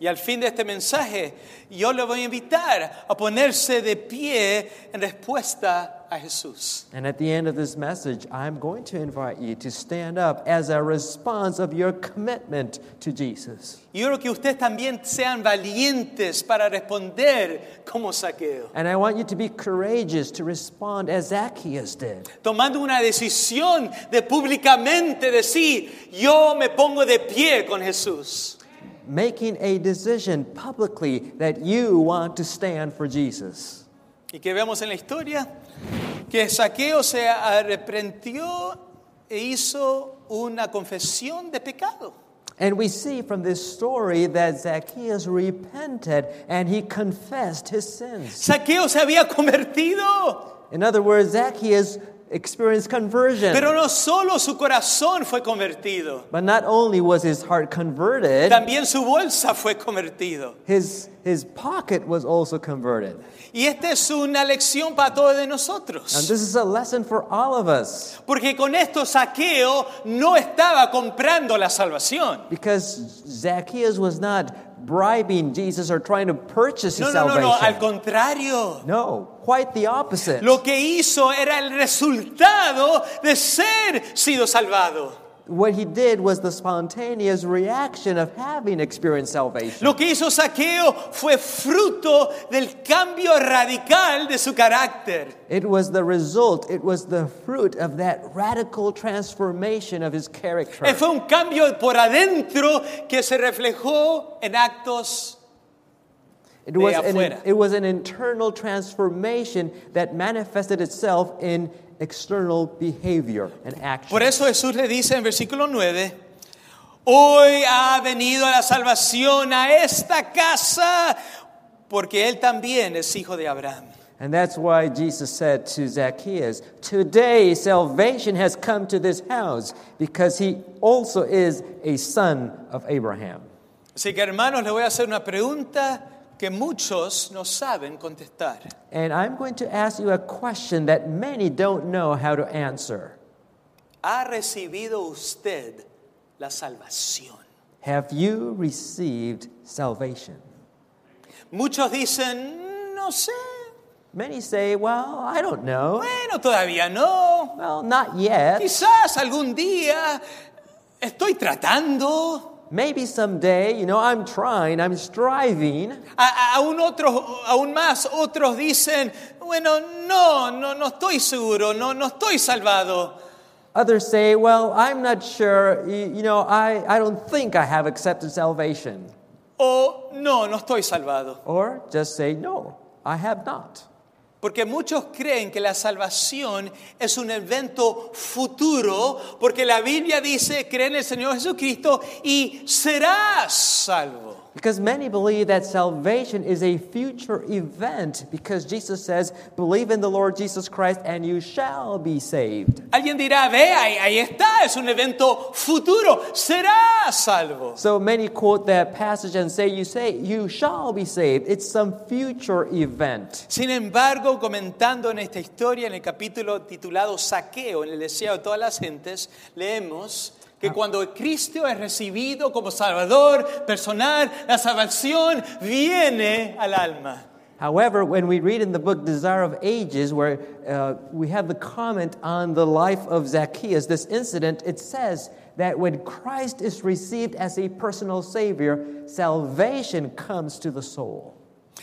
Speaker 1: Y al fin de este mensaje, yo le voy a invitar a ponerse de pie en respuesta a Jesús.
Speaker 2: And at the end of this message, I'm going to invite you to stand up as a response of your commitment to Jesus.
Speaker 1: Y yo creo que ustedes también sean valientes para responder como saqueo,
Speaker 2: And I want you to be courageous to respond as Zacchaeus did,
Speaker 1: tomando una decisión de públicamente decir, yo me pongo de pie con Jesús.
Speaker 2: making a decision publicly that you want to stand for Jesus.
Speaker 1: Y que vemos en la historia que Saqueo se arrepintió e hizo una confesión de pecado.
Speaker 2: And we see from this story that Zacchaeus repented and he confessed his sins.
Speaker 1: Saqueo se había convertido,
Speaker 2: In other words, Zacchaeus experienced conversion.
Speaker 1: pero no solo su corazón fue convertido,
Speaker 2: But not only was his heart converted,
Speaker 1: también su bolsa fue convertido.
Speaker 2: his, his pocket was also converted.
Speaker 1: Y esta es una lección para todos de
Speaker 2: And
Speaker 1: nosotros,
Speaker 2: this is a lesson for all of us
Speaker 1: porque con esto Saqueo no estaba comprando la salvación.
Speaker 2: because Zacchaeus was not bribing Jesus or trying to purchase his
Speaker 1: No, no, no, no, al
Speaker 2: salvation.
Speaker 1: contrario.
Speaker 2: No, quite the opposite.
Speaker 1: Lo que hizo era el resultado de ser sido salvado.
Speaker 2: What he did was the spontaneous reaction of having experienced salvation.
Speaker 1: Lo que hizo Saqueo fue fruto del cambio radical de su carácter.
Speaker 2: It was the result, it was the fruit of that radical transformation of his character.
Speaker 1: Eh, Fue un cambio por adentro que se reflejó en actos.
Speaker 2: It was,
Speaker 1: de
Speaker 2: an,
Speaker 1: afuera.
Speaker 2: it was an internal transformation that manifested itself in external behavior and action.
Speaker 1: Por eso Jesús le dice en versículo 9, hoy ha venido la salvación a esta casa porque él también es hijo de Abraham.
Speaker 2: And that's why Jesus said to Zacchaeus, Today salvation has come to this house because he also is a son of Abraham.
Speaker 1: Así que hermanos, les voy a hacer una pregunta que muchos no saben contestar.
Speaker 2: And I'm going to ask you a question that many don't know how to answer.
Speaker 1: ¿Ha recibido usted la salvación?
Speaker 2: Have you received salvation?
Speaker 1: Muchos dicen, no sé,
Speaker 2: Many say, Well, I don't know.
Speaker 1: bueno, todavía no,
Speaker 2: Well, not yet.
Speaker 1: quizás algún día estoy tratando.
Speaker 2: Maybe someday, you know, I'm trying, I'm striving.
Speaker 1: A- a- aún, otros, aún más otros dicen, bueno, no, no, no estoy seguro, no, no estoy salvado.
Speaker 2: Others say, well, I'm not sure, y- you know, I, I don't think I have accepted salvation.
Speaker 1: O no, no estoy salvado.
Speaker 2: Or just say, no, I have not.
Speaker 1: Porque muchos creen que la salvación es un evento futuro, porque la Biblia dice, cree en el Señor Jesucristo y serás salvo.
Speaker 2: Because many believe that salvation is a future event because Jesus says, believe in the Lord Jesus Christ and you shall be saved.
Speaker 1: Alguien dirá, ve, ahí, ahí está, es un evento futuro, serás salvo.
Speaker 2: So many quote that passage and say, you say, you shall be saved. It's some future event.
Speaker 1: Sin embargo, comentando en esta historia, en el capítulo titulado Saqueo, en el deseo de todas las gentes, leemos que cuando Cristo es recibido como Salvador personal, la salvación viene al alma.
Speaker 2: However, when we read in the book Desire of Ages, where uh, we have the comment on the life of Zacchaeus, this incident, it says that when Christ is received as a personal Savior, salvation comes to the soul.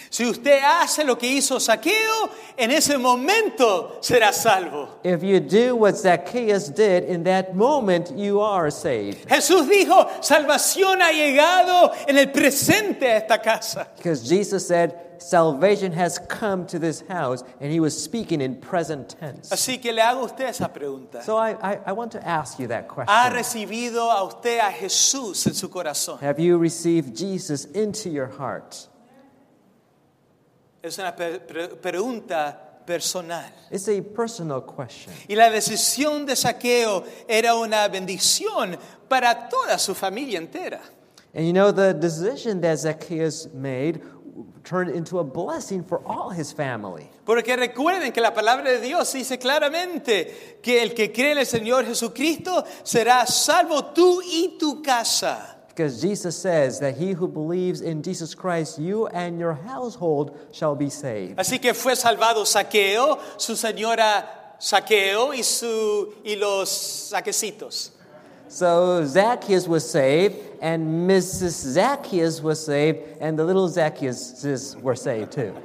Speaker 1: Si usted hace lo que hizo Saqueo, en ese momento será salvo.
Speaker 2: If you do what Zacchaeus did, in that moment you are saved.
Speaker 1: Jesús dijo, salvación ha llegado en el presente a esta casa.
Speaker 2: Because Jesus said, Salvation has come to this house, and he was speaking in present tense.
Speaker 1: Así que le hago a usted esa pregunta.
Speaker 2: So I, I, I want to ask you that
Speaker 1: ¿Ha
Speaker 2: question.
Speaker 1: recibido a usted a Jesús en su corazón?
Speaker 2: Have you received Jesus into your heart?
Speaker 1: Es una per- pre- pregunta personal.
Speaker 2: It's a personal question.
Speaker 1: Y la decisión de Saqueo era una bendición para toda su familia entera.
Speaker 2: And you know, the decision that Zacchaeus made turned into a blessing for all his family.
Speaker 1: Porque recuerden que la palabra de Dios dice claramente que el que cree en el Señor Jesucristo será salvo tú y tu casa.
Speaker 2: Because Jesus says that he who believes in Jesus Christ, you and your household shall be saved.
Speaker 1: Así que fue salvado Saqueo, su señora Saqueo y, su, y los saquecitos.
Speaker 2: So Zacchaeus was saved, and Mrs. Zacchaeus was saved, and the little Zacchaeuses were saved too.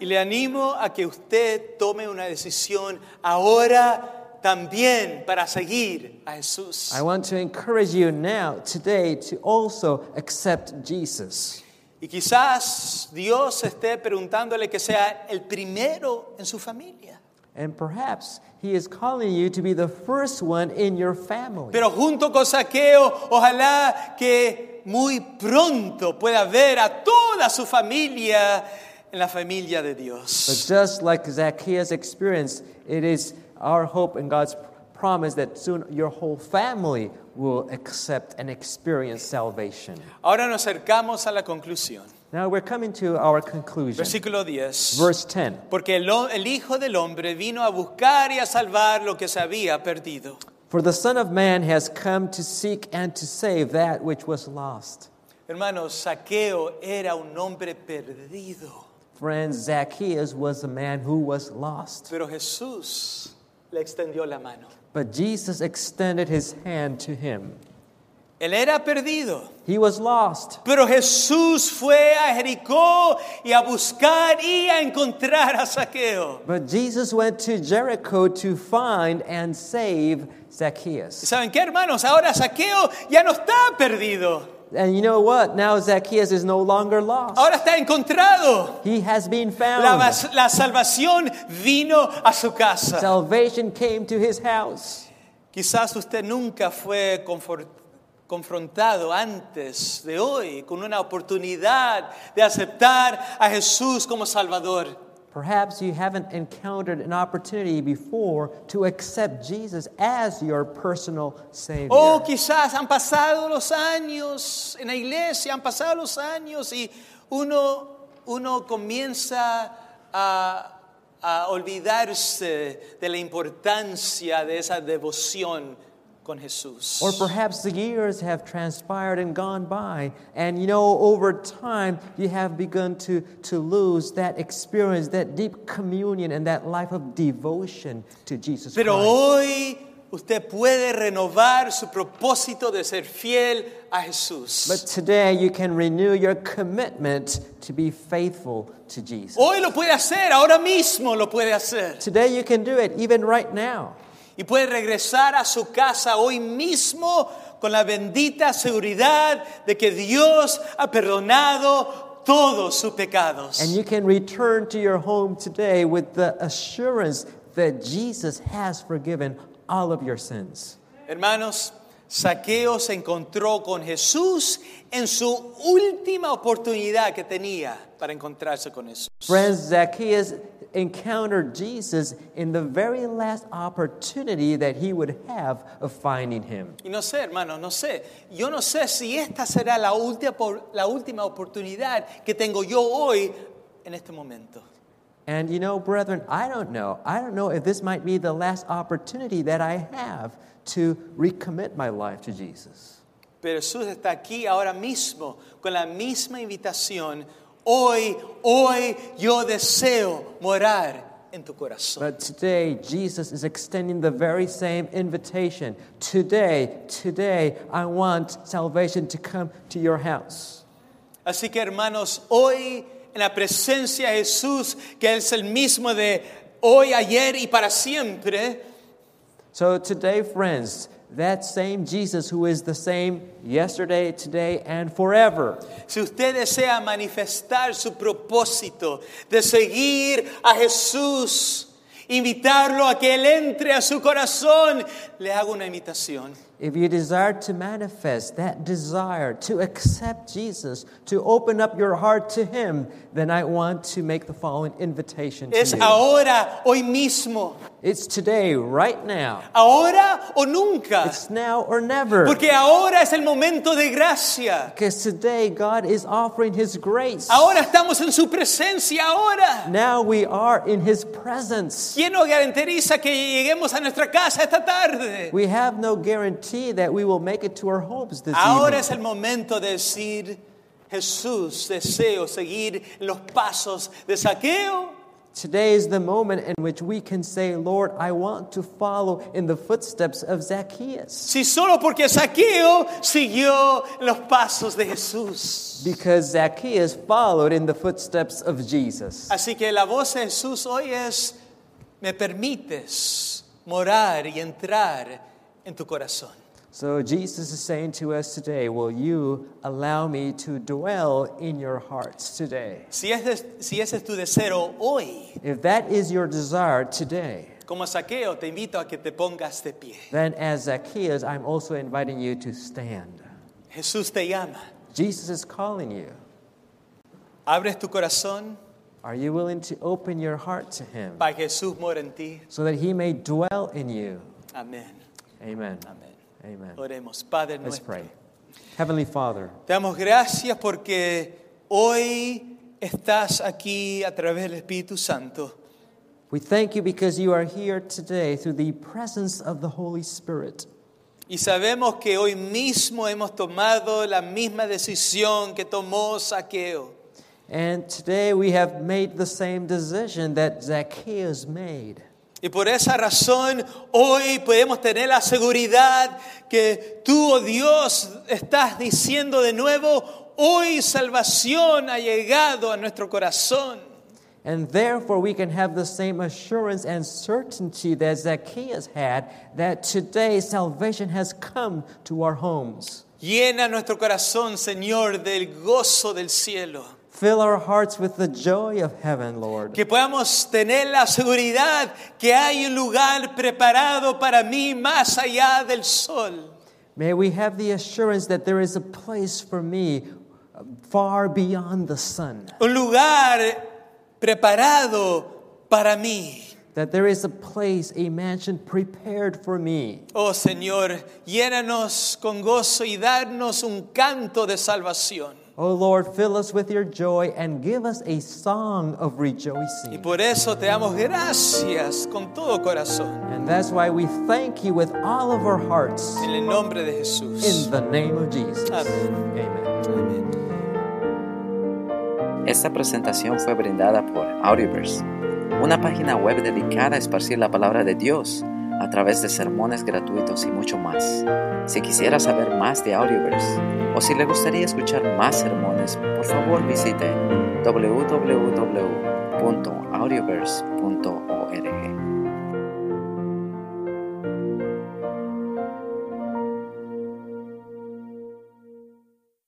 Speaker 1: Y le animo a que usted tome una decisión ahora también para seguir a Jesús.
Speaker 2: I want to encourage you now, today, to also accept Jesus.
Speaker 1: Y quizás Dios esté preguntándole que sea el primero en su familia.
Speaker 2: And perhaps he is calling you to be the first one in your family.
Speaker 1: Pero junto con Saqueo, ojalá que muy pronto pueda ver a toda su familia en la familia de
Speaker 2: But
Speaker 1: Dios.
Speaker 2: just like Zacchaeus experienced, it is our hope and God's promise that soon your whole family will accept and experience salvation.
Speaker 1: Ahora nos acercamos a la conclusión.
Speaker 2: Now we're coming to our conclusion.
Speaker 1: Versículo 10.
Speaker 2: Verse 10.
Speaker 1: Porque el, ho- el Hijo del Hombre vino a buscar y a salvar lo que se había perdido.
Speaker 2: For the Son of Man has come to seek and to save that which was lost.
Speaker 1: Hermanos, Saqueo era un hombre perdido,
Speaker 2: Friends, Zacchaeus was a man who was lost.
Speaker 1: pero Jesús le extendió la mano.
Speaker 2: But Jesus extended his hand to him.
Speaker 1: Él era perdido,
Speaker 2: He was lost.
Speaker 1: pero Jesús fue a Jericó y a buscar y a encontrar a Saqueo.
Speaker 2: But Jesus went to Jericho to find and save
Speaker 1: ¿Y
Speaker 2: Zacchaeus.
Speaker 1: ¿Saben qué, hermanos? Ahora Saqueo ya no está perdido,
Speaker 2: And you know what? Now Zacchaeus is no longer lost.
Speaker 1: ahora está encontrado.
Speaker 2: He has been
Speaker 1: La,
Speaker 2: found.
Speaker 1: vas- la salvación vino a su casa.
Speaker 2: Salvation came to his house.
Speaker 1: Quizás usted nunca fue confort- confrontado antes de hoy con una oportunidad de aceptar a Jesús como Salvador.
Speaker 2: Perhaps you haven't encountered an opportunity before to accept Jesus as your personal
Speaker 1: O Oh,
Speaker 2: Savior.
Speaker 1: quizás han pasado los años en la iglesia, han pasado los años y uno, uno comienza a, a olvidarse de la importancia de esa devoción con Jesús.
Speaker 2: Or perhaps the years have transpired and gone by, and you know, over time, you have begun to, to lose that experience, that deep communion, and that life of devotion to Jesus
Speaker 1: Pero
Speaker 2: Christ.
Speaker 1: hoy usted puede renovar su propósito de ser fiel a Jesús.
Speaker 2: But today, you can renew your commitment to be faithful to Jesus.
Speaker 1: Hoy lo puede hacer, ahora mismo lo puede hacer.
Speaker 2: Today, you can do it, even right now.
Speaker 1: Y puede regresar a su casa hoy mismo con la bendita seguridad de que Dios ha perdonado todos sus pecados.
Speaker 2: And you can return to your home today with the assurance that Jesus has forgiven all of your sins.
Speaker 1: Hermanos, Saqueo se encontró con Jesús en su última oportunidad que tenía para encontrarse con Jesús.
Speaker 2: Friends, Zacchaeus encountered Jesus in the very last opportunity that he would have of finding him.
Speaker 1: Y no sé, hermanos, no sé. Yo no sé si esta será la última, la última oportunidad que tengo yo hoy en este momento.
Speaker 2: And you know, brethren, I don't know. I don't know if this might be the last opportunity that I have to recommit my life to Jesus.
Speaker 1: Pero Jesús está aquí ahora mismo con la misma invitación. Hoy, hoy yo deseo morar en tu corazón.
Speaker 2: But today, Jesus is extending the very same invitation. Today, today, I want salvation to come to your house.
Speaker 1: Así que hermanos, hoy en la presencia de Jesús, que es el mismo de hoy, ayer y para siempre,
Speaker 2: So today, friends, that same Jesus who is the same yesterday, today, and forever,
Speaker 1: si usted desea manifestar su propósito de seguir a Jesús, invitarlo a que Él entre a su corazón, le hago una invitación.
Speaker 2: if you desire to manifest that desire to accept Jesus, to open up your heart to Him, then I want to make the following invitation to
Speaker 1: Es
Speaker 2: you.
Speaker 1: ahora, hoy mismo,
Speaker 2: It's today, right now.
Speaker 1: ahora o nunca,
Speaker 2: It's now or never.
Speaker 1: porque ahora es el momento de gracia.
Speaker 2: Because today, God is offering His grace.
Speaker 1: Ahora estamos en su presencia, ahora.
Speaker 2: Now we are in His presence.
Speaker 1: ¿Quién nos garantiza que lleguemos a nuestra casa esta tarde?
Speaker 2: We have no guarantee that we will make it to our homes this
Speaker 1: Ahora
Speaker 2: evening.
Speaker 1: es el momento de decir, Jesús, deseo seguir los pasos de saqueo.
Speaker 2: Today is the moment in which we can say, Lord, I want to follow in the footsteps of Zacchaeus.
Speaker 1: Si solo porque saqueo siguió los pasos de Jesús.
Speaker 2: Because Zacchaeus followed in the footsteps of Jesus.
Speaker 1: Así que la voz de Jesús hoy es, me permites morar y entrar en tu corazón.
Speaker 2: So Jesus is saying to us today, Will you allow me to dwell in your hearts today?
Speaker 1: Si ese, si ese es tu deseo hoy,
Speaker 2: If that is your desire today,
Speaker 1: como saqueo, te invito a que te pongas de pie.
Speaker 2: then as Zacchaeus, I'm also inviting you to stand.
Speaker 1: Jesús te llama.
Speaker 2: Jesus is calling you.
Speaker 1: Abres tu corazón
Speaker 2: Are you willing to open your heart to him
Speaker 1: para que Jesús mora en ti.
Speaker 2: so that he may dwell in you?
Speaker 1: Amén.
Speaker 2: Amen.
Speaker 1: Amén.
Speaker 2: Amen.
Speaker 1: Oremos, Padre
Speaker 2: Let's
Speaker 1: nuestro.
Speaker 2: pray. Heavenly Father,
Speaker 1: Te damos gracias porque hoy estás aquí a través del Espíritu Santo.
Speaker 2: we thank you because you are here today through the presence of the Holy Spirit.
Speaker 1: Y sabemos que hoy mismo hemos tomado la misma decisión que tomó Saqueo.
Speaker 2: And today we have made the same decision that Zacchaeus made.
Speaker 1: Y por esa razón hoy podemos tener la seguridad que tú, oh Dios, estás diciendo de nuevo, hoy salvación ha llegado a nuestro corazón.
Speaker 2: And therefore, we can have the same assurance and certainty that Zacchaeus had that today salvation has come to our homes.
Speaker 1: Llena nuestro corazón, Señor, del gozo del cielo.
Speaker 2: Fill our hearts with the joy of heaven, Lord.
Speaker 1: Que podamos tener la seguridad que hay un lugar preparado para mí más allá del sol.
Speaker 2: May we have the assurance that there is a place for me far beyond the sun.
Speaker 1: Un lugar preparado para mí.
Speaker 2: that there is a place, a mansion prepared for me.
Speaker 1: Oh Señor, llénanos con gozo y darnos un canto de salvación.
Speaker 2: O Oh, Lord, fill us with your joy and give us a song of
Speaker 1: Y
Speaker 2: rejoicing.
Speaker 1: por eso te damos gracias con todo corazón.
Speaker 2: And that's why we thank you with all of our hearts
Speaker 1: En el nombre de Jesús.
Speaker 2: in the name of Jesus.
Speaker 1: Amen.
Speaker 2: Amen.
Speaker 1: Amén.
Speaker 3: Esta presentación fue brindada por Audioverse, una página web dedicada a esparcir la palabra de Dios a través de sermones gratuitos y mucho más. Si quisiera saber más de Audioverse o si le gustaría escuchar más sermones, por favor visite www.audioverse.org